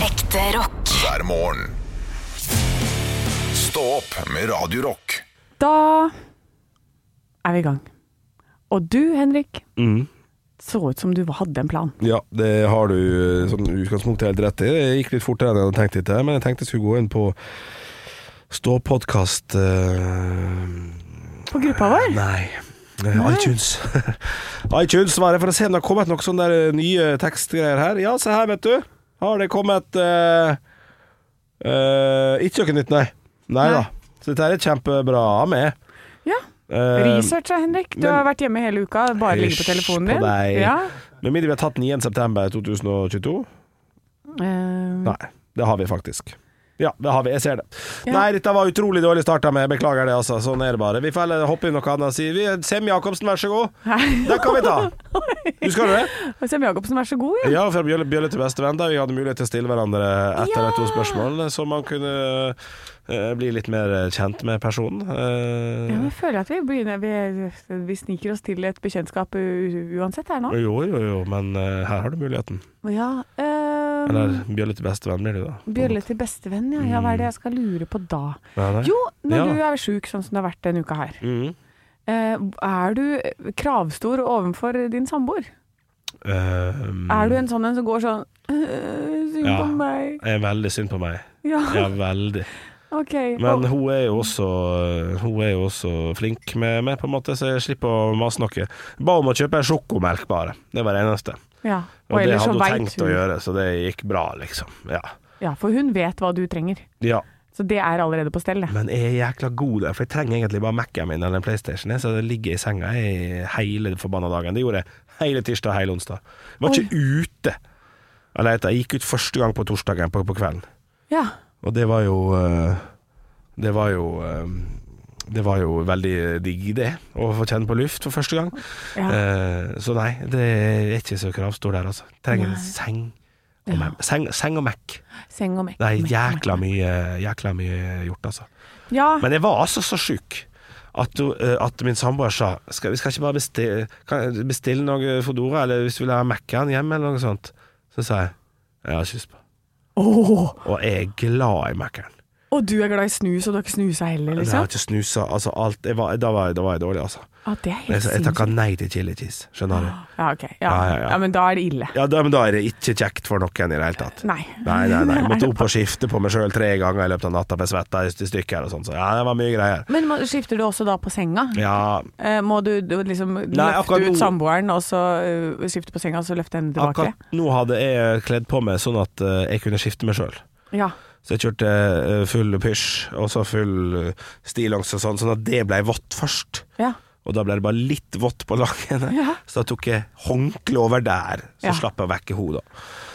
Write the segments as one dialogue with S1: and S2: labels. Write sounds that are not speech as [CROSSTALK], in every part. S1: Ekte rock.
S2: hver morgen. Stå opp med Radio Rock.
S3: Da er vi i gang. Og du, Henrik,
S4: Mm.
S3: så ut som du hadde en plan.
S4: Ja, det har du eh, sånn utgangspunktet helt rett i. Det gikk litt fortere enn jeg hadde tenkt litt der, men jeg tenkte jeg skulle gå inn på ståpodkast
S3: På gruppa vår.
S4: Nei. Eh, iTunes. [LAUGHS] iTunes var det for å se om det har kommet noen sånne der eh, nye tekstgreier her. Ja, se her, vet du. Har det kommet eh, eh, Ikke noe nytt, nei. Nei da. Så dette her er kjempebra med.
S3: Ja.
S4: Uh,
S3: Research, ja, Henrik. Du
S4: men-
S3: har vært hjemme hele uka, bare ligget på
S4: Hysj
S3: telefonen
S4: på
S3: din.
S4: deg.
S3: Ja.
S4: med mindre vi har tatt 9.9.2022.
S3: Eh,
S4: Nei, det har vi faktisk. Ja, det har vi. Jeg ser det.
S3: Ja.
S4: Nei, dette var utrolig dårlig starta med. Beklager det, altså. Sånn er det bare. Vi får heller hoppe i noe annet og si vi, Sem Jacobsen, vær så god.
S3: Hei.
S4: Den
S3: [LAUGHS]
S4: kan vi ta. Husker du det?
S3: Og Sem Jacobsen, vær så god. Ja.
S4: Ja, fra Bjølle, bjølle til bestevenn, da vi hadde mulighet til å stille hverandre ett eller to spørsmål, så man kunne eh, bli litt mer kjent med personen. Eh,
S3: Ja, men jeg føler at vi begynner Vi, vi sniker oss til et bekjentskap u- uansett her nå.
S4: Eh, Jo, jo, jo, men eh, her har du muligheten.
S3: Ja. eh,
S4: Eller Bjølle til bestevenn blir det, da. på en
S3: Bjølle til bestevenn, ja. ja. Hva er det jeg skal lure på da?
S4: måte. Nei, nei.
S3: Jo, når
S4: Ja.
S3: du er sjuk, sånn som du har vært denne uka her.
S4: Mhm.
S3: Eh, er du kravstor overfor din samboer?
S4: Eh,
S3: Er du en sånn en som går sånn «Øh, Synd
S4: Ja.
S3: på meg.
S4: Eh, er veldig synd på meg.
S3: Ja,
S4: Ja, veldig.
S3: [LAUGHS] ok.
S4: Men
S3: Og-
S4: hun er jo også, hun er jo også flink med meg, på en måte, så jeg slipper å mase noe. Ba om å kjøpe en sjokomelk, bare. Det var det eneste.
S3: ja.
S4: Og, det
S3: ellers så
S4: hadde hun
S3: vet
S4: tenkt å gjøre, så det gikk bra, liksom. Ja.
S3: Ja, for hun vet hva du trenger.
S4: ja.
S3: Så det er allerede på stell, det.
S4: Men jeg er jækla god der, for jeg trenger egentlig bare Mac-en min eller en PlayStation, jeg, så jeg ligger i senga jeg, hele den forbanna dagen. Det gjorde jeg hele tirsdag hele onsdag. Jeg var ikke ute. Eller, jeg gikk ut første gang på torsdagen på, på kvelden.
S3: Ja.
S4: Og det var jo eh, Det var jo eh, Det var jo veldig digg det Å få kjenne på luft for første gang
S3: Ja.
S4: Eh, Så nei, det er ikke så kravstor der altså Trenger
S3: Nei.
S4: en seng og
S3: Ja.
S4: Mac. seng, seng og Mac
S3: Seng og mekk.
S4: Det er
S3: mekk,
S4: jækla mye, jækla mye gjort altså
S3: mekk. Ja.
S4: Men jeg var altså så syk at, du, eh, at min samboer sa skal, Vi skal ikke bare bestille, kan, bestille noe Fodora Eller hvis du vil ha Mac-en hjemme eller noe sånt Så sa jeg, jeg har ikke lyst på
S3: Åh,
S4: Og jeg er glad i Mac-en
S3: og du er glad i snus, og du har ikke snusa heller,
S4: Jeg har
S3: liksom?
S4: ikke snusa. Altså, alt, jeg var, da, var jeg, da var jeg dårlig, altså.
S3: Ja, det er
S4: Jeg,
S3: helt
S4: jeg takka
S3: sinnssykt.
S4: nei til chili cheese, skjønner du.
S3: Ja, ok.
S4: Ja,
S3: Ja.
S4: ja, ja.
S3: ja, men da er det ille.
S4: Ja, da, men da er det ikke kjekt for noen i det hele
S3: [LAUGHS]
S4: tatt.
S3: Nei.
S4: Nei, nei, nei. Jeg måtte opp og skifte på meg sjøl tre ganger i løpet av natta, for jeg svetta i stykker og sånn, så ja, det var mye greier.
S3: Men må- skifter du også da på senga?
S4: Ja,
S3: Eh, Må du du liksom
S4: akkurat
S3: løfte ut
S4: nå-
S3: samboeren, og så eh, skifte på senga, og så løfte henne tilbake?
S4: akkurat nå hadde jeg kledd på meg sånn at eh, jeg kunne skifte meg sjøl.
S3: Ja.
S4: Så jeg kjørte eh, full pysj, og så full eh, stillongs og sånn, sånn at det ble vått først.
S3: ja.
S4: Og da ble det bare litt vått på [LAUGHS] lakenet,
S3: Ja.
S4: så da tok jeg håndkle over der, så
S3: Ja.
S4: slapp jeg vekk henne, da.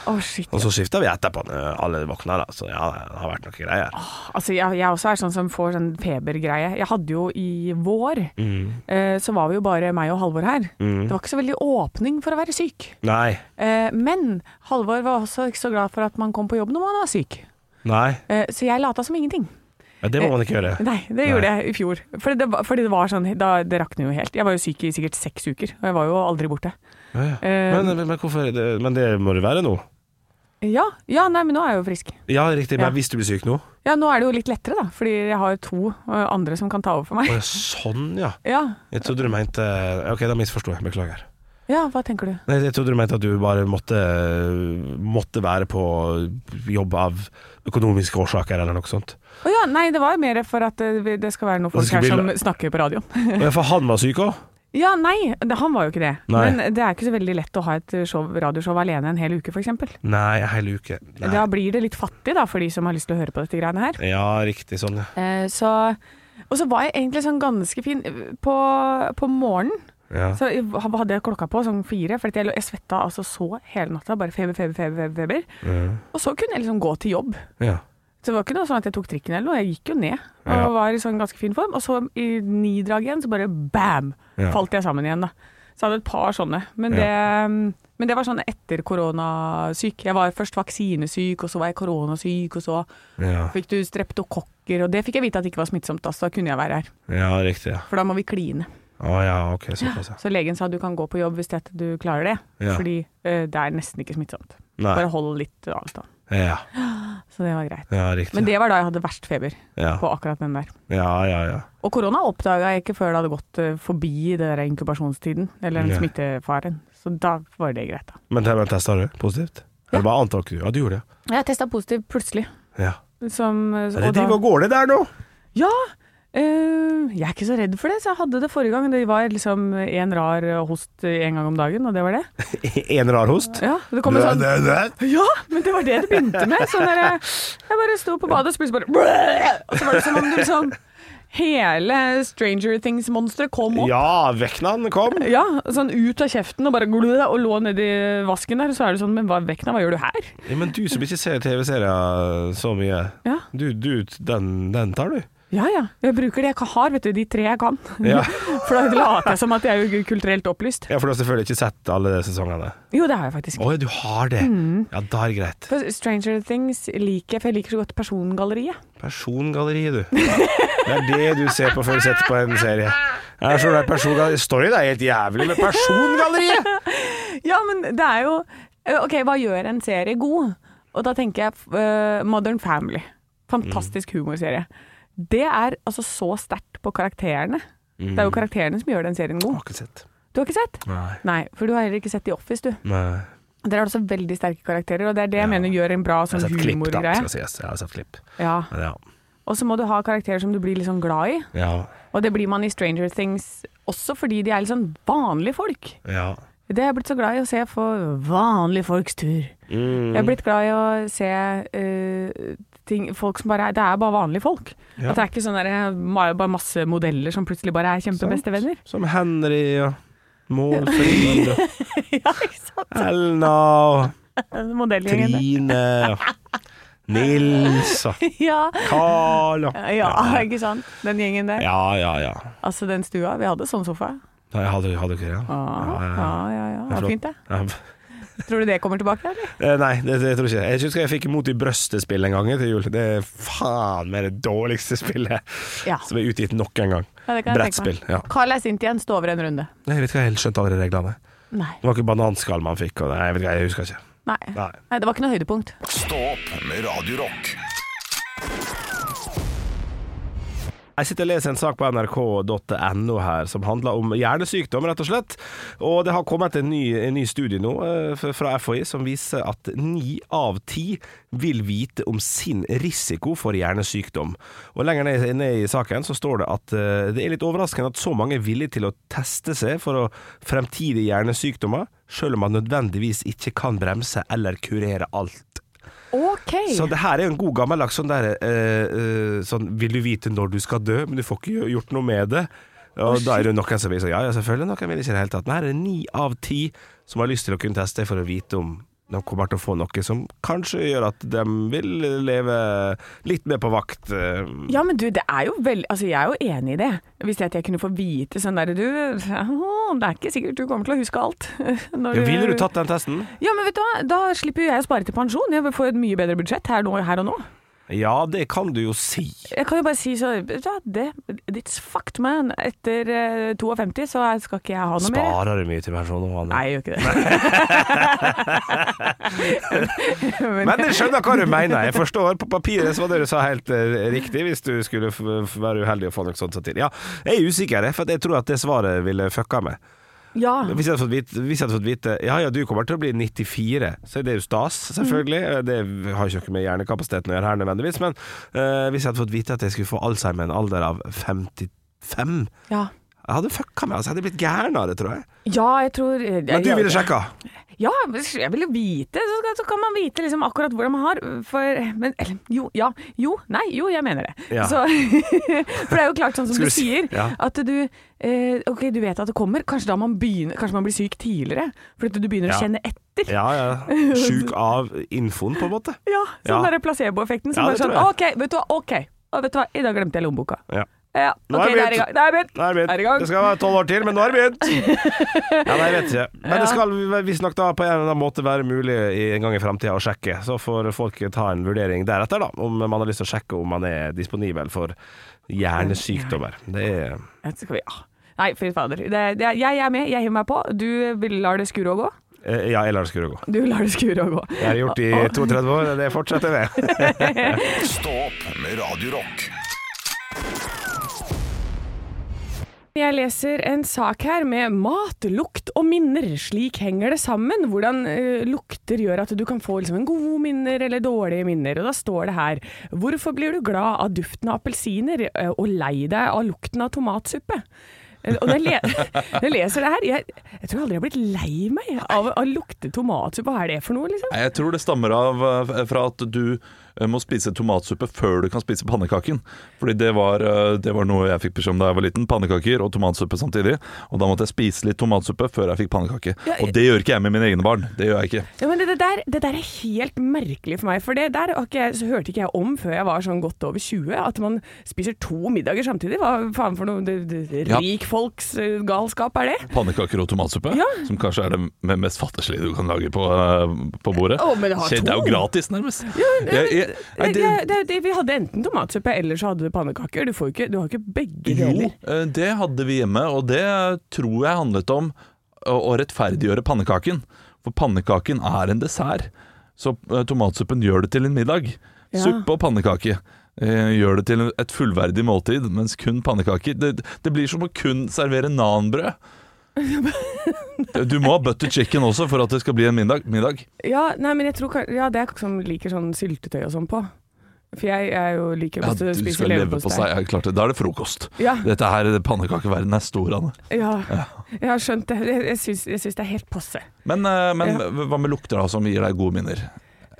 S3: Å, shit.
S4: Og så skifta vi etterpå, når alle våkna, da. Så ja, det har vært noen greier.
S3: Altså, jeg, jeg også er sånn som får sånn febergreie. Jeg hadde jo i vår,
S4: Mm.
S3: eh, så var vi jo bare meg og Halvor her. Det var ikke så veldig åpning for å være syk.
S4: Nei.
S3: Eh, men Halvor var også ikke så glad for at man kom på jobb når man var syk.
S4: Nei.
S3: Eh, så jeg lata som ingenting.
S4: Ja, det må man ikke gjøre.
S3: Nei, det gjorde jeg i fjor. Fordi det, var- fordi det var sånn, da, det rakner jo helt. Jeg var jo syk i sikkert seks uker, og jeg var jo aldri borte.
S4: Ja, ja.
S3: Eh,
S4: Men, men, hvorfor, det, men det må det være nå.
S3: Ja, ja, nei, men nå er jeg jo frisk.
S4: Ja, riktig. Men
S3: Ja.
S4: hvis du blir syk nå
S3: Ja, nå er det jo litt lettere, da, fordi jeg har to eh, andre som kan ta over for
S4: Å,
S3: meg.
S4: ja, Sånn, ja.
S3: Ja,
S4: Jeg trodde du mente Ok, da misforsto jeg. Beklager.
S3: ja hva tenker du?
S4: Nei, Jeg trodde du mente at du bare måtte Måtte være på jobb av økonomiske årsaker eller noe
S3: [LAUGHS]
S4: sånt.
S3: Å ja, nei, det var mer for at eh, vi- det skal være noen folk her
S4: skal vi
S3: som
S4: la-
S3: snakker på radioen.
S4: Ja, For han var syk òg?
S3: Ja, nei, det, han var jo ikke det.
S4: Nei.
S3: Men det er ikke så veldig lett å ha et show, radioshow alene en hel uke, f.eks.
S4: Nei, en hel uke. Nei.
S3: Da blir det litt fattig da, for de som har lyst til å høre på dette greiene her.
S4: Ja, riktig. Sånn, ja.
S3: Eh, så, og så var jeg egentlig sånn ganske fin på, på morgenen.
S4: ja.
S3: Så jeg hadde jeg klokka på sånn fire, for jeg, lå- jeg svetta altså så hele natta. Bare feber, feber, feber, feber. feber.
S4: Ja.
S3: Og så kunne jeg liksom gå til jobb.
S4: mm. ja.
S3: Så det var ikke noe sånn at jeg tok trikken eller noe, jeg gikk jo ned og
S4: Ja.
S3: var i sånn ganske fin form. Og så i nidraget igjen, så bare bam!
S4: Ja.
S3: Falt jeg sammen igjen, da. Så jeg hadde et par sånne. Men
S4: Ja.
S3: det, men det var sånn etter koronasyk. Jeg var først vaksinesyk, og så var jeg koronasyk, og så
S4: ja.
S3: fikk du streptokokker, og det fikk jeg vite at det ikke var smittsomt, altså. da, så da kunne jeg være her.
S4: ja riktig. Ja.
S3: For da må vi kline.
S4: Å ja, ok. Såpass, ja.
S3: Så legen sa du kan gå på jobb hvis det at du klarer det,
S4: Ja.
S3: fordi eh, det er nesten ikke smittsomt.
S4: Nei.
S3: Bare hold litt avstand.
S4: Ja.
S3: Så det var greit.
S4: Ja, riktig.
S3: Men det var da jeg hadde verst feber
S4: ja.
S3: på akkurat den der.
S4: ja, ja, ja.
S3: Og korona oppdaga jeg ikke før det hadde gått eh, forbi det der inkubasjonstiden, eller den
S4: Ja.
S3: smittefaren. Så da var det greit, da.
S4: Men, te- men testa du positivt? Eller bare antok du? Ja, du gjorde det.
S3: Jeg testa positiv plutselig.
S4: Ja.
S3: Som, eh,
S4: Så
S3: og
S4: det
S3: da-
S4: driver og går det der nå? [LAUGHS]
S3: Ja! eh, jeg er ikke så redd for det, så jeg hadde det forrige gang. Det var liksom en rar host eh, en gang om dagen, og det var det.
S4: En rar host?
S3: Ja, det kom en sånn
S4: Nei, nei, nei.
S3: Ja, men det var det det begynte med. Sånn der, jeg- jeg bare sto på badet og spiste bare «Bleh!» Og så var det som om du liksom Hele Stranger Things-monsteret kom opp. Ja.
S4: Ja, Veknan kom.
S3: sånn ut av kjeften og bare glø, og lå nedi vasken der. Og så er det sånn, men hva, Vekna, hva gjør du her?
S4: Ja, men du som ikke ser TV-serier så mye,
S3: Ja.
S4: du, du, den, den
S3: [LAUGHS]
S4: tar du?
S3: Ja ja, jeg bruker det jeg har, vet du. De tre jeg kan.
S4: Ja.
S3: For da later jeg som at jeg er jo kulturelt opplyst.
S4: Ja, for du har selvfølgelig ikke sett alle sesongene.
S3: Jo, det har jeg faktisk.
S4: Å ja, du har det.
S3: Mm.
S4: Ja, da er det greit.
S3: For Stranger Things liker jeg, for jeg liker så godt persongalleriet.
S4: Persongalleriet, du. Det er det du ser på før du setter på en serie. Jeg tror det er persongalleriet. Storyen er helt jævlig, men persongalleriet!
S3: Ja, men det er jo eh, Ok, hva gjør en serie god? Og da tenker jeg eh, Modern Family. Fantastisk humorserie. Det er altså så sterkt på karakterene. Det er jo karakterene som gjør den serien god.
S4: Mm. Har ikke sett.
S3: Du har ikke sett?
S4: Nei.
S3: Nei, for du har heller ikke sett The Office, du.
S4: Nei.
S3: Der har du også veldig sterke karakterer, og det er det jeg
S4: Ja.
S3: mener gjør en bra
S4: Jeg
S3: sånn
S4: har sett klipp, da.
S3: humorgreie.
S4: Skal sies. Jeg har sett klipp.
S3: Ja.
S4: Men ja.
S3: Og så må du ha karakterer som du blir litt sånn glad i,
S4: Ja.
S3: og det blir man i Stranger Things også fordi de er litt sånn vanlige folk.
S4: ja.
S3: Det har jeg blitt så glad i å se for vanlige folks tur.
S4: Mm.
S3: Jeg er blitt glad i å se eh, ting, folk som bare er Det er bare vanlige folk.
S4: Ja.
S3: At det er ikke sånn der, ma- bare masse modeller som plutselig bare er kjempebestevenner.
S4: Som Henry og Målfrid og
S3: [LAUGHS] ja, ikke sant?
S4: Elna og
S3: Modellgjengen. der.
S4: Trine og Nils og
S3: [LAUGHS] Ja.
S4: Carl og
S3: ja, ikke sant. Den gjengen der.
S4: Ja, ja, ja.
S3: Altså, den stua. Vi hadde sånn sofa.
S4: Nei, hadde, hadde dere det?
S3: Ah,
S4: ja,
S3: ja,
S4: ja.
S3: ja, ja. Det
S4: Flott.
S3: var fint, det.
S4: Ja.
S3: Tror du det kommer tilbake, eller?
S4: Eh, Nei, det, det tror jeg ikke. Jeg husker jeg fikk imot i brøstespill en gang til jul. Det er faen meg det dårligste spillet
S3: Ja.
S4: som er utgitt nok en gang.
S3: ja det kan jeg tenke
S4: Brettspill.
S3: meg.
S4: ja.
S3: Carl er sint igjen. Stå over en runde.
S4: Nei, Jeg vet ikke, jeg helt skjønte aldri reglene.
S3: Nei.
S4: Det var ikke bananskall man fikk. Og nei, jeg, vet ikke, jeg husker ikke.
S3: Nei.
S4: Nei.
S3: Nei, det var ikke noe høydepunkt.
S2: Stå opp med Radio Rock.
S4: Jeg sitter og leser en sak på nrk.no her som handler om hjernesykdom, rett og slett. Og det har kommet en ny, en ny studie nå eh, f- fra FHI som viser at ni av ti vil vite om sin risiko for hjernesykdom. Og lenger ned, ned i saken så står det at eh, det er litt overraskende at så mange er villige til å teste seg for å fremtidige hjernesykdommer, selv om man nødvendigvis ikke kan bremse eller kurere alt.
S3: OK.
S4: Så det her er jo en god gammeldags sånn derre Sånn Vil du vite når du skal dø, men du får ikke gjort noe med det. Og da er det jo noen som vil si ja, ja, selvfølgelig. Noen vil ikke i det hele tatt. Men her er det ni av ti som har lyst til å kunne teste for å vite om de kommer til å få noe som kanskje gjør at de vil leve litt mer på vakt. eh,
S3: Ja, men du, det er jo veldig Altså, jeg er jo enig i det. Hvis jeg, at jeg kunne få vite sånn derre Du, «Åh, det er ikke sikkert du kommer til å huske alt. [LAUGHS] Når
S4: Ja, ville du tatt den testen?
S3: Ja, men vet du hva, da slipper jo jeg å spare til pensjon. Jeg får et mye bedre budsjett her, nå, her og nå.
S4: Ja, det kan du jo si.
S3: Jeg kan jo bare si så vet du hva, det, It's fucked, man. Etter eh, 52 så er- skal ikke jeg ha noe mer.
S4: Sparer du mye til pensjon? nå, Anne?
S3: Nei, jeg gjør ikke det.
S4: [LAUGHS] Men jeg skjønner hva du mener. Jeg forstår. På papiret så var det du sa helt eh, riktig, hvis du skulle f f være uheldig og få noe sånt til. Ja, jeg er usikker, jeg, for jeg tror at det svaret ville fucka meg.
S3: Ja.
S4: Hvis jeg hadde fått vite, hvis jeg hadde fått vite ja ja, du kommer til å bli 94, så er det jo stas, selvfølgelig. Eh,
S3: Mm.
S4: Det har jo ikke noe med hjernekapasiteten å gjøre her nødvendigvis, men eh, hvis jeg hadde fått vite at jeg skulle få Alzheimer i en alder av 55
S3: Ja,
S4: jeg hadde fucka meg, altså. Jeg hadde blitt gæren av det, tror jeg.
S3: ja jeg tror
S4: Men du ville sjekka?
S3: Ja, men jeg vil jo vite, så, skal, så kan man vite liksom akkurat hvordan man har for, men, eller, Jo, ja, jo, nei, jo, jeg mener det.
S4: Ja.
S3: Så, [LAUGHS] for det er jo klart sånn som
S4: Skal
S3: du
S4: du si-
S3: sier,
S4: ja.
S3: at du eh, Ok, du vet at det kommer, kanskje da man begynner Kanskje man blir syk tidligere, fordi du begynner
S4: Ja.
S3: å kjenne etter.
S4: Ja ja. Sjuk av infoen, på en måte.
S3: Ja,
S4: Ja.
S3: sånn der placeboeffekten som
S4: Ja,
S3: bare
S4: det
S3: sånn
S4: tror
S3: OK, vet du hva, ok, Å, vet du hva, i dag glemte jeg lommeboka.
S4: Ja.
S3: Ja,
S4: Nå
S3: ok,
S4: er
S3: det
S4: det
S3: er i
S4: begynt.
S3: gang. Det er begynt.
S4: Nå er det
S3: Er det i
S4: begynt.
S3: gang?
S4: Det skal være tolv år til, men nå er det [LAUGHS] begynt. Ja, nei, jeg vet ikke. Men det skal visstnok da på en eller annen måte være mulig i- en gang i framtida å sjekke. Så får folk ta en vurdering deretter, da, om man har lyst til å sjekke om man er disponibel for hjernesykdommer. Det er
S3: ah. Ja, så skal vi- ja. Nei, fy fader. Det, det, jeg er med, jeg hiver meg på. Du lar det skure og gå.
S4: Eh, Ja, jeg lar det skure og gå.
S3: Du lar det skure og gå.
S4: Det har jeg gjort i 32 år, og det fortsetter jeg med.
S2: Stå opp med Radio Rock.
S3: Jeg leser en sak her med mat, lukt og minner. Slik henger det sammen. Hvordan eh, lukter gjør at du kan få liksom, en gode minner eller dårlige minner. Og da står det her Hvorfor blir du glad av duften av appelsiner eh, og lei deg av lukten av tomatsuppe? Eh, Og når jeg, le [LAUGHS] når jeg leser det her jeg, jeg tror aldri jeg har blitt lei meg av å lukte tomatsuppe. Hva er det for noe, liksom?
S1: Nei, Jeg tror det stammer av eh, fra at du eh, må spise tomatsuppe før du kan spise pannekaken. Fordi det var, eh, det var noe jeg fikk beskjed om da jeg var liten. Pannekaker og tomatsuppe samtidig. Og da måtte jeg spise litt tomatsuppe før jeg fikk pannekake.
S3: Ja, jeg-
S1: Og det gjør ikke jeg med mine egne barn. Det gjør jeg ikke.
S3: Ja, men det, det, der, det der er helt merkelig for meg, for det der har ikke jeg, så hørte ikke jeg om før jeg var sånn godt over 20, at man spiser to middager samtidig. Hva faen for noe det, det,
S1: Ja.
S3: rikfolksgalskap er det?
S1: Pannekaker og tomatsuppe,
S3: Ja.
S1: som kanskje er det me- mest fattigslige du kan lage på, eh, på bordet.
S3: Å, men jeg har
S1: Shit, det er
S3: to.
S1: jo gratis, nærmest. Jeg- jeg- nei,
S3: Det,
S1: det-
S3: det, det, det, vi hadde enten tomatsuppe, eller så hadde du pannekaker. Du, får jo ikke, du har ikke begge
S1: Jo,
S3: deler.
S1: eh, det hadde vi hjemme, og det tror jeg handlet om å å rettferdiggjøre pannekaken. For pannekaken er en dessert, så eh, tomatsuppen gjør det til en middag.
S3: Ja.
S1: Suppe og pannekake eh, gjør det til et fullverdig måltid, mens kun pannekaker Det, det blir som å kun
S3: [LAUGHS]
S1: servere nanbrød. Du må ha butter chicken også for at det skal bli en middag. middag.
S3: Ja, nei, men jeg tror, kan- ja, det er ikke som liker sånn syltetøy og sånn på. For jeg, jeg er jo liker
S1: Ja,
S3: best
S1: du
S3: å spise
S1: skal leve på seg.
S3: leverpostei.
S1: Ja, klart det. Da er det frokost.
S3: Ja.
S1: Dette her, Pannekakeverdenen er stor, Anne.
S3: Ja, jeg har skjønt det. Jeg, jeg, syns, jeg syns det er helt passe.
S1: Men, eh, men
S3: Ja.
S1: hva med lukter da, som gir deg gode minner?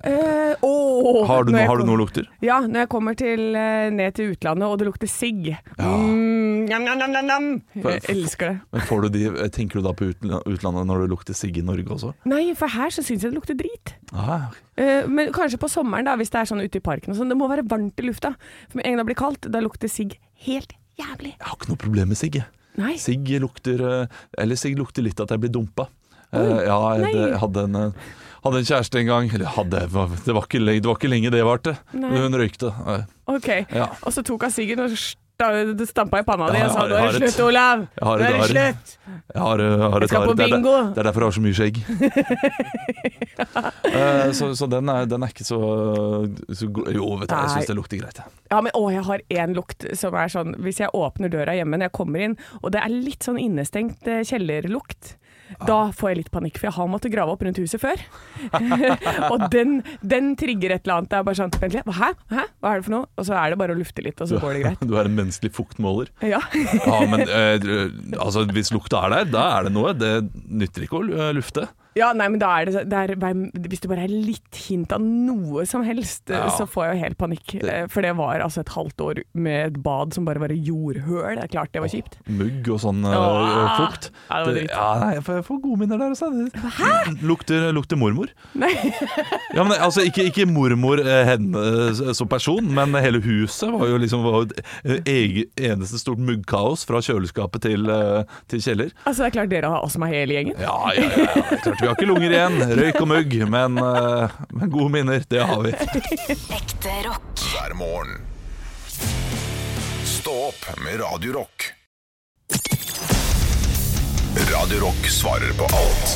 S3: Eh, åh,
S1: Har
S3: når
S1: du, no,
S3: jeg
S1: har du
S3: kom-
S1: noen lukter?
S3: Ja, når jeg kommer til, eh, ned til utlandet og det lukter sigg.
S1: Ja.
S3: Mm, nam, nam, nam, nam, nam. Jeg elsker det.
S1: Men får du de, eh, tenker du da på utla- utlandet når det lukter sigg i Norge også?
S3: Nei, for her så syns jeg det lukter drit.
S1: Ah,
S3: Eh, men kanskje på sommeren, da, hvis det er sånn ute i parken og sånn. Det må være varmt i lufta. For med en gang det blir kaldt, da lukter sigg helt jævlig.
S1: jeg har ikke noe problem med sigg. jeg.
S3: Nei.
S1: Sigg lukter eh, Eller sigg lukter litt at jeg blir dumpa. Eh, ja, jeg hadde,
S3: nei.
S1: hadde, en, eh, hadde en kjæreste en gang. Eller hadde Det var det var ikke, le- det var ikke lenge det varte.
S3: Nei.
S1: Hun røykte. Eh,
S3: OK.
S1: Ja.
S3: Og så tok hun siggen og sta- stampa i panna di
S1: Ja,
S3: og sa nå er
S1: jeg har-
S3: det
S1: jeg har et-
S3: slutt, Olav.
S1: jeg har
S3: Nå er
S1: et
S3: det
S1: arr.
S3: slutt.
S1: Jeg har, eh, har
S3: Jeg
S1: et
S3: skal
S1: arr.
S3: på
S1: Det er der-
S3: bingo.
S1: Det er derfor jeg har så mye skjegg.
S3: [LAUGHS]
S1: Eh, så så den, er, den er ikke så, så god Jo, vet du, jeg
S3: Nei.
S1: syns det lukter greit. jeg.
S3: Ja, men å, jeg har én lukt som er sånn Hvis jeg åpner døra hjemme når jeg kommer inn, og det er litt sånn innestengt eh, kjellerlukt, da får jeg litt panikk, for jeg har måttet grave opp rundt huset før. [LAUGHS] og den, den trigger et eller annet. Det er bare sånn Vent litt, hæ? hæ? Hva er det for noe? Og så er det bare å lufte litt, og så går det
S1: [LAUGHS]
S3: greit.
S1: Du er en menneskelig fuktmåler.
S3: Ja.
S1: Ja, men eh, altså, hvis lukta er der, da er det noe. Det nytter ikke å lu- eh, lufte.
S3: ja, nei, men da er det, det er, bare- Hvis det bare er litt hint av noe som helst, eh,
S1: Ja.
S3: så får jeg jo helt panikk. Eh, For det var altså et halvt år med et bad som bare var et jordhøl. Det er klart det var kjipt.
S1: Mugg og sånn eh,
S3: Åh,
S1: fukt.
S3: ja, det var dritt.
S1: ja, nei, jeg får, jeg får gode minner der også. Hæ? Lukter, lukter mormor.
S3: Nei.
S1: Ja, men altså, ikke, ikke mormor eh, henne eh, som person, men hele huset var jo liksom var jo et eh, ege- eneste stort muggkaos fra kjøleskapet til, eh, til kjeller.
S3: Altså, det er klart dere har astma hele gjengen.
S1: Ja, ja, ja, ja. det er Klart vi har ikke lunger igjen. Røyk og mugg, men, eh, men gode minner, det har vi.
S5: Ekte rock.
S2: hver morgen. Stå opp med Radio Rock. Radio Rock svarer på alt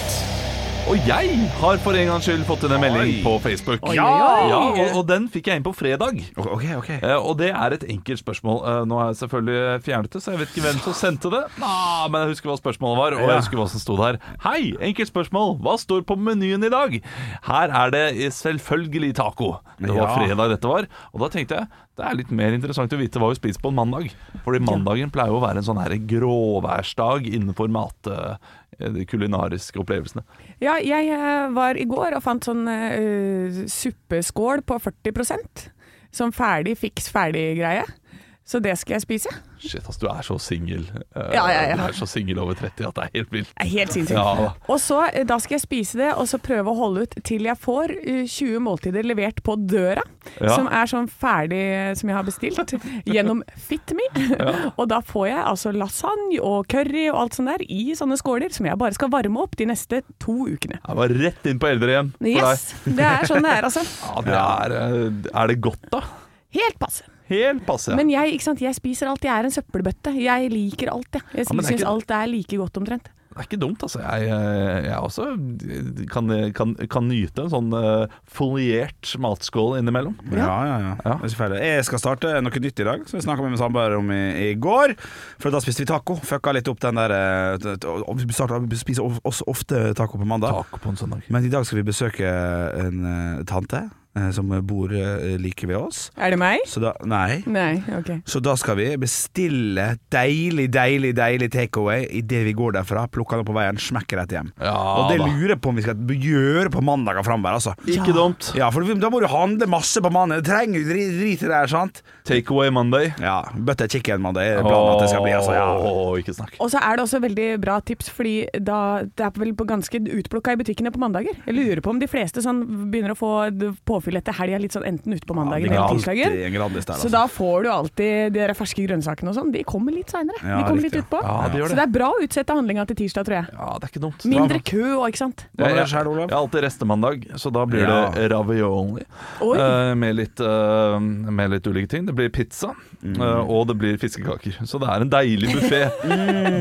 S1: Og jeg har for en gangs skyld fått inn en melding på Facebook.
S3: Oi, oi, oi.
S1: Ja, og, og den fikk jeg inn på fredag.
S4: [LAUGHS] Ok, ok.
S1: Eh, og det er et enkelt spørsmål. Eh, nå har jeg selvfølgelig fjernet det, så jeg vet ikke hvem som sendte det. Ah, men jeg husker hva spørsmålet var, og jeg husker hva som sto der. Hei, enkelt spørsmål. Hva står på menyen i dag? Her er det selvfølgelig taco. Det var
S4: Ja.
S1: fredag dette var. Og da tenkte jeg det er litt mer interessant å vite hva vi spiser på en mandag. Fordi mandagen pleier jo å være en sånn her gråværsdag innenfor mat... eh, de kulinariske opplevelsene.
S3: Ja, jeg eh, var i går og fant sånn eh, suppeskål på 40 Sånn ferdig, fiks ferdig-greie. Så det skal jeg spise.
S1: Shit, altså, du er så singel. Eh,
S3: Ja, ja, ja.
S1: Du er så singel over 30 at det er helt
S3: [LAUGHS]
S1: vilt.
S3: Det er helt sinnssykt.
S1: Ja.
S3: Og så, eh, da skal jeg spise det, og så prøve å holde ut til jeg får eh, 20 måltider levert på døra.
S1: Ja.
S3: Som er sånn ferdig eh, som jeg har bestilt, [LAUGHS] gjennom Fitme. [LAUGHS] og da får jeg altså lasagne og curry og alt sånt der i sånne skåler, som jeg bare skal varme opp de neste to ukene.
S1: Jeg var rett inn på eldrehjem for
S3: Yes!
S1: deg.
S3: Det er sånn det er, altså.
S1: Ja, det er, eh, er det godt, da?
S3: Helt passe.
S1: Helt passe.
S3: Men jeg, ikke sant? jeg spiser alt. Jeg er en søppelbøtte. Jeg liker alt, jeg. Jeg synes
S1: men det er ikke-
S3: syns alt er like godt omtrent.
S1: er ikke dumt, altså. Jeg, eh, jeg også kan, kan, kan nyte en sånn eh, foliert matskål innimellom.
S4: Ja, ja, ja.
S1: Ja.
S4: Det er ikke feil. Jeg skal starte noe nytt i dag, som jeg snakka med min samboer om i, i går. For da spiste vi taco. Fucka litt opp den der eh, t- t- og Vi starter- vi spiser of- også ofte taco på mandag.
S1: Taco på en søndag.
S4: Men i dag skal vi besøke en eh, tante eh, som bor eh, like ved oss.
S3: Er det meg?
S4: Så da Nei.
S3: Nei, ok.
S4: Så da skal vi bestille deilig, deilig, deilig takeaway idet vi går derfra. Plukker den opp på veien, smekker rett hjem.
S1: Ja,
S4: og det
S1: da.
S4: lurer jeg på om vi skal gjøre på mandager framover, altså.
S1: Ikke dumt.
S4: Ja, for da må du handle masse på mandag. Du trenger jo dri- drit i det her, sant?
S1: Take away Monday.
S4: Ja, butter chicken mandag er planen at det skal bli, altså. Ja.
S1: Åh, ikke snakk.
S3: Og så er det også veldig bra tips, fordi da, det er vel på ganske utplukka i butikkene på mandager. Jeg lurer på om de fleste sånn begynner å få påfyll etter helga, litt sånn enten ute på mandagen
S1: Ja,
S3: eller
S1: alltid sånn.
S3: tirsdagen.
S4: en Grandis der,
S3: Så
S4: altså.
S3: da får du alltid de der ferske grønnsakene og sånn. De kommer litt seinere.
S4: Ja,
S3: de kommer
S4: riktig.
S3: litt utpå.
S1: Ja, det gjør det.
S3: Så det er bra å utsette handlinga til tirsdag, tror jeg.
S1: Ja, det er ikke dumt.
S3: Mindre kø òg, ikke sant.
S4: Hva med
S1: Jeg-
S4: deg selv, Olav?
S1: Jeg har alltid restemandag, så da blir
S4: Ja.
S1: det ravioli.
S3: Oi.
S1: eh, med, litt, eh, med litt ulike ting. Det blir pizza, eh, og det blir fiskekaker. Så det er en deilig buffé.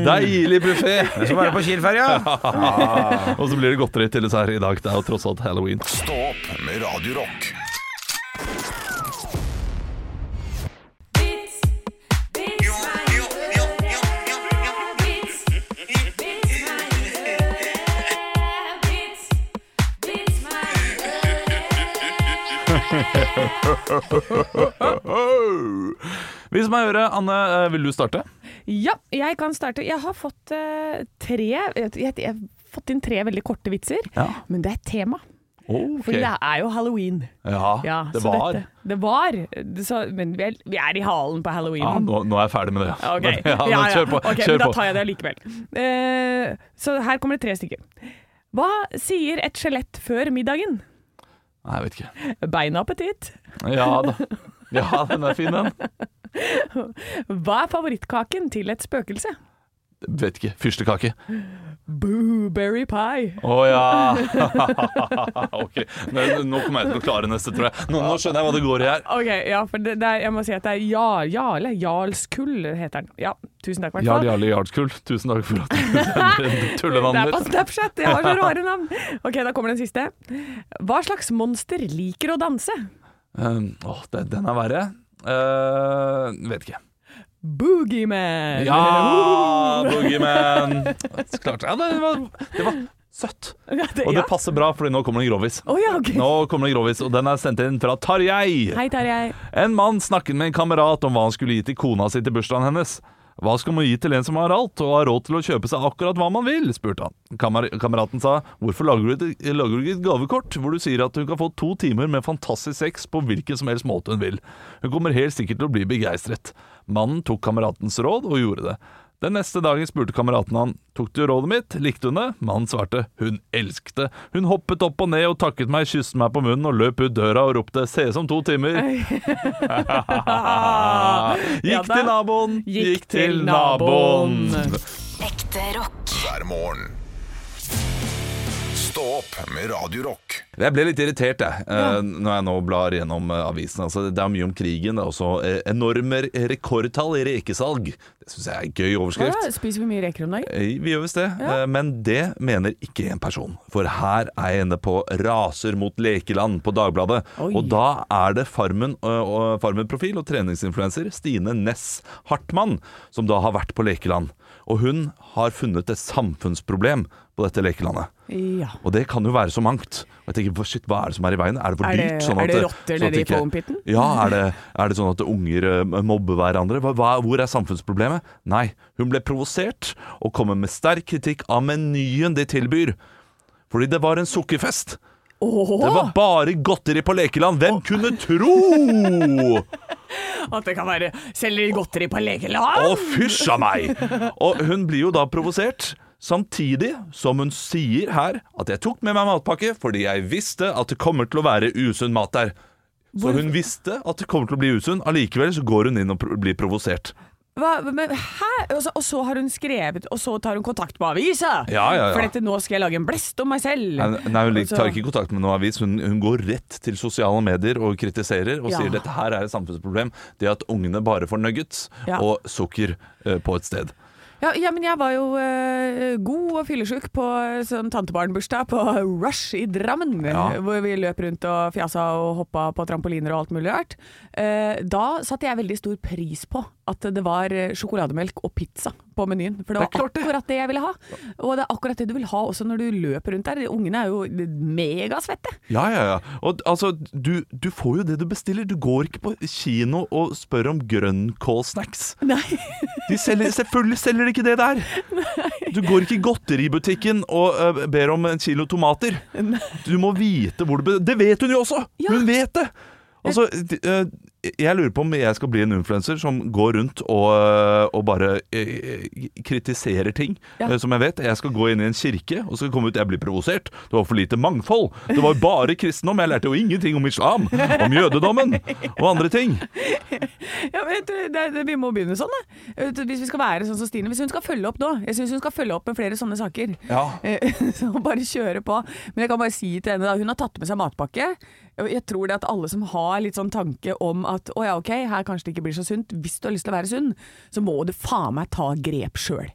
S1: Deilig buffé!
S4: Så bare på Kiel-ferja.
S1: [LAUGHS] Og så blir det godteri til dessert i dag. Det er jo tross alt halloween.
S2: Stå opp med Radio Rock.
S1: Vi som er i øret, Anne, eh, vil du starte?
S3: Ja, jeg kan starte. Jeg har fått eh, tre jeg, jeg, jeg har fått inn tre veldig korte vitser,
S1: Ja.
S3: men det er et tema. For
S1: Ok.
S3: det er jo halloween.
S1: Ja,
S3: Ja,
S1: det
S3: så
S1: var.
S3: Dette, det var. Så, men vi er, vi er i halen på halloween.
S1: Ja, nå, nå er jeg ferdig med det.
S3: Ok,
S1: Men, [LAUGHS] ja, men kjør på.
S3: Ok,
S1: kjør
S3: men da
S1: på.
S3: tar jeg det likevel. Eh, så her kommer det tre stykker. Hva sier et skjelett før middagen?
S1: Nei, jeg vet ikke.
S3: Beina appetitt.
S1: Ja da. Ja, den er fin, den.
S3: Hva er favorittkaken til et spøkelse?
S1: Vet ikke. Fyrstekake.
S3: Blueberry pie.
S1: Å ja! [LAUGHS] ok. Nå, nå kommer jeg til å klare neste, tror jeg. Nå, nå skjønner jeg hva det går i her.
S3: Ok, ja, for det, det er, jeg må si at det er Jarl, Jarle, Jarlskull heter den. Ja, tusen takk i hvert
S1: Jarl
S3: fall.
S1: Jarle Jarlskull, tusen takk for at du [LAUGHS] sender
S3: Det er
S1: tullenavnet
S3: på
S1: ditt.
S3: Snapchat, jeg har
S1: [LAUGHS]
S3: så rare navn. Ok, da kommer den siste. Hva slags monster liker å danse?
S1: Um, åh, den- den er verre. Eh, vet ikke. Eh,
S3: Boogeyman!
S1: [LAUGHS] Ja, Boogeyman! Så klart. Ja, det, var, det var søtt.
S3: Ja, det,
S1: Og
S3: ja.
S1: det passer bra, Fordi nå kommer det en grovis.
S3: Å ja, ok.
S1: Nå kommer det en grovis, og den er sendt inn fra Tarjei.
S3: Hei, Tarjei.
S1: En mann snakket med en kamerat om hva han skulle gi til kona si til bursdagen hennes. Hva skal man gi til en som har alt og har råd til å kjøpe seg akkurat hva man vil? spurte han. Kamer kameraten sa hvorfor lager du, et, lager du ikke et gavekort hvor du sier at hun kan få to timer med fantastisk sex på hvilken som helst måte hun vil. Hun kommer helt sikkert til å bli begeistret. Mannen tok kameratens råd og gjorde det. Den neste dagen spurte kameraten han Tok du rådet mitt, likte hun det? Mannen svarte hun elsket det. Hun hoppet opp og ned og takket meg, kysset meg på munnen og løp ut døra og ropte ses om to timer.
S3: Ja
S1: Ah,
S3: Ah.
S1: Gikk
S3: da.
S1: til naboen,
S3: Gikk
S1: gikk til
S3: til
S1: naboen.
S3: naboen.
S5: Ekte rock.
S2: hver morgen. Stå opp med Radio Rock.
S1: Jeg ble litt irritert jeg, eh, når jeg nå blar gjennom eh, avisen. Altså, det er mye om krigen. Det er også eh, enorme re- rekordtall i rekesalg. Det syns jeg er en gøy
S3: Ja,
S1: overskrift.
S3: spiser vi mye reker om dagen?
S1: Eh, Vi gjør visst det, eh, men det mener ikke en person. For her er jeg inne på Raser mot lekeland på Dagbladet.
S3: Oi.
S1: Og da er det Farmen, ø, og- Farmen-profil og treningsinfluenser Stine Næss Hartmann som da har vært på lekeland. Og hun har funnet et samfunnsproblem på dette lekelandet.
S3: Ja.
S1: Og det kan jo være så mangt. Og jeg tenker, hva- shit, Hva er det som er i veien? Er det for
S3: Er det-
S1: dyrt? Sånn
S3: er
S1: at
S3: det rotter
S1: sånn at
S3: nede i
S1: ikke-
S3: foam-pitten?
S1: Ja, er det, er det sånn at unger eh, mobber hverandre? Hva, hva, hvor er samfunnsproblemet? Nei, hun ble provosert og kommer med sterk kritikk av menyen de tilbyr. Fordi det var en sukkerfest. Det var bare godteri på lekeland. Hvem kunne tro?
S3: At det kan være selger godteri på
S1: Å,
S3: lekeland?
S1: fysj a meg! Og hun blir jo da provosert. Samtidig som hun sier her at jeg tok med meg matpakke fordi jeg visste at det kommer til å være usunn mat der. Så hun visste at det kommer til å bli usunn, allikevel så går hun inn og pro blir provosert.
S3: Hva, men, hæ? Og så, og så har hun skrevet, og så tar hun kontakt med avisa.
S1: Ja, ja, ja.
S3: For dette, nå skal jeg lage en blest om meg selv.
S1: Nei, nei, hun
S3: Og så-
S1: tar ikke kontakt med noen avis. Hun, hun går rett til sosiale medier og kritiserer og
S3: Ja.
S1: sier dette her er et samfunnsproblem. Det at ungene bare får nuggets
S3: Ja.
S1: og sukker eh, på et sted.
S3: Ja, ja, men jeg var jo eh, god og fyllesyk på sånn tantebarnbursdag på [LAUGHS] Rush i Drammen.
S1: Ja.
S3: Hvor vi løp rundt og fjasa og hoppa på trampoliner og alt mulig rart. Eh, da satte jeg veldig stor pris på at det var eh, sjokolademelk og pizza på menyen. For det var
S1: Det er klart det.
S3: akkurat det jeg ville ha. Og det er akkurat det du vil ha også når du løper rundt der. Ungene er jo megasvette.
S1: Ja, ja, ja. Og d- altså, du, du får jo det du bestiller. Du går ikke på kino og spør om grønnkålsnacks.
S3: Nei.
S1: De selger, selvfølgelig selger de ikke det der! Du går ikke i godteributikken og ø, ber om en kilo tomater. Du må vite hvor du be- Det vet hun jo også!
S3: Ja.
S1: Hun vet det! Altså, d- ø, jeg lurer på om jeg skal bli en influenser som går rundt og, ø, og bare ø, kritiserer ting.
S3: Ja.
S1: ø, Som jeg vet. Jeg skal gå inn i en kirke og så skal jeg komme ut Jeg blir provosert. Det var for lite mangfold. Det var bare kristendom. Jeg lærte jo ingenting om islam, om jødedommen og andre ting.
S3: Ja, men jeg tror det, det, Vi må begynne sånn, da. Jeg vet, Hvis vi skal være sånn som Stine. Hvis hun skal følge opp nå. Jeg syns hun skal følge opp med flere sånne saker.
S1: Ja.
S3: Eh, [LAUGHS] Så bare kjøre på. Men jeg kan bare si til henne, da. Hun har tatt med seg matpakke. Og Jeg tror det at alle som har litt sånn tanke om at å ja, ok, her kanskje det ikke blir så sunt. Hvis du har lyst til å være sunn, så må du faen meg ta grep sjøl.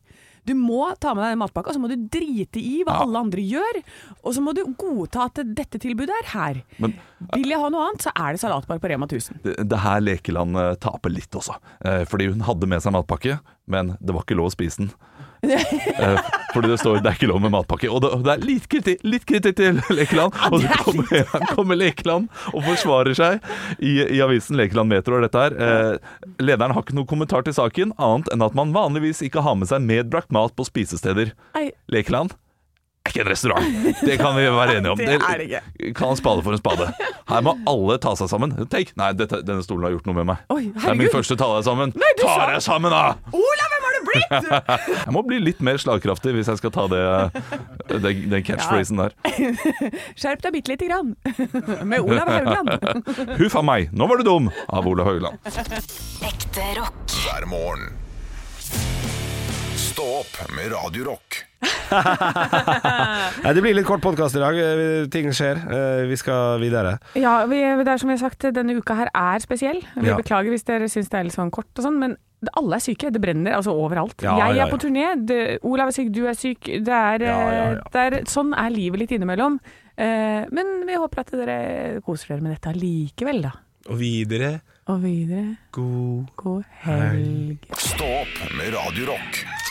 S3: Du må ta med deg den matpakka, og så må du drite i hva alle andre gjør. Og så må du godta at dette tilbudet er her.
S1: Men-
S3: Vil jeg ha noe annet, så er det salatbar på Rema 1000.
S1: det, det her lekeland eh, taper litt også. Eh, fordi hun hadde med seg matpakke, men det var ikke lov å spise den. Eh, fordi det står 'det er ikke lov med matpakke'. Og det, og det er litt kritikk, litt kritikk til Lekeland. Og så kommer, [LAUGHS] kommer Lekeland og forsvarer seg i, i avisen Lekeland Metro. og Dette her. Eh, lederen har ikke noe kommentar til saken, annet enn at man vanligvis ikke har med seg medbrakt mat på spisesteder.
S3: Nei,
S1: Lekeland er ikke en restaurant. Det kan vi være enige om.
S3: [LAUGHS] Det er det
S1: Kall en spade for en spade. Her må alle ta seg sammen. Tenk, nei, dette, denne stolen har gjort noe med meg.
S3: Oi,
S1: det er min
S3: herregud.
S1: første ta deg sammen.
S3: Nei, du
S1: ta
S3: sa-
S1: deg sammen, da!
S3: Olav, hvem har du
S1: [LAUGHS]
S3: blitt?
S1: Jeg må bli litt mer slagkraftig hvis jeg skal ta det, den, den catchphrasen der.
S3: Skjerp deg bitte lite grann. [LAUGHS] Med Olav Haugland.
S1: [LAUGHS] Huff a meg, nå var du dum! Av Ole Høgland.
S5: Ekte rock.
S2: hver morgen. Stå opp med Radio Rock.
S4: Nei, det blir litt kort podkast i dag. Eh, Ting skjer. Eh, Vi skal videre.
S3: [LAUGHS] Ja, vi, det er som vi har sagt, denne uka her er spesiell. Vi
S4: Ja.
S3: beklager hvis dere syns det er litt sånn kort og sånn, men det- alle er syke. Det brenner altså overalt.
S4: Ja,
S3: jeg
S4: ja,
S3: er på
S4: ja.
S3: turné, det, Olav er syk, du er syk. Det er,
S4: Ja, ja, ja.
S3: eh, Det er, sånn er livet litt innimellom. Eh, men vi håper at dere koser dere med dette allikevel, da.
S4: Og videre
S3: Og videre
S4: god
S3: god helg.
S2: Stå opp med Radio Rock.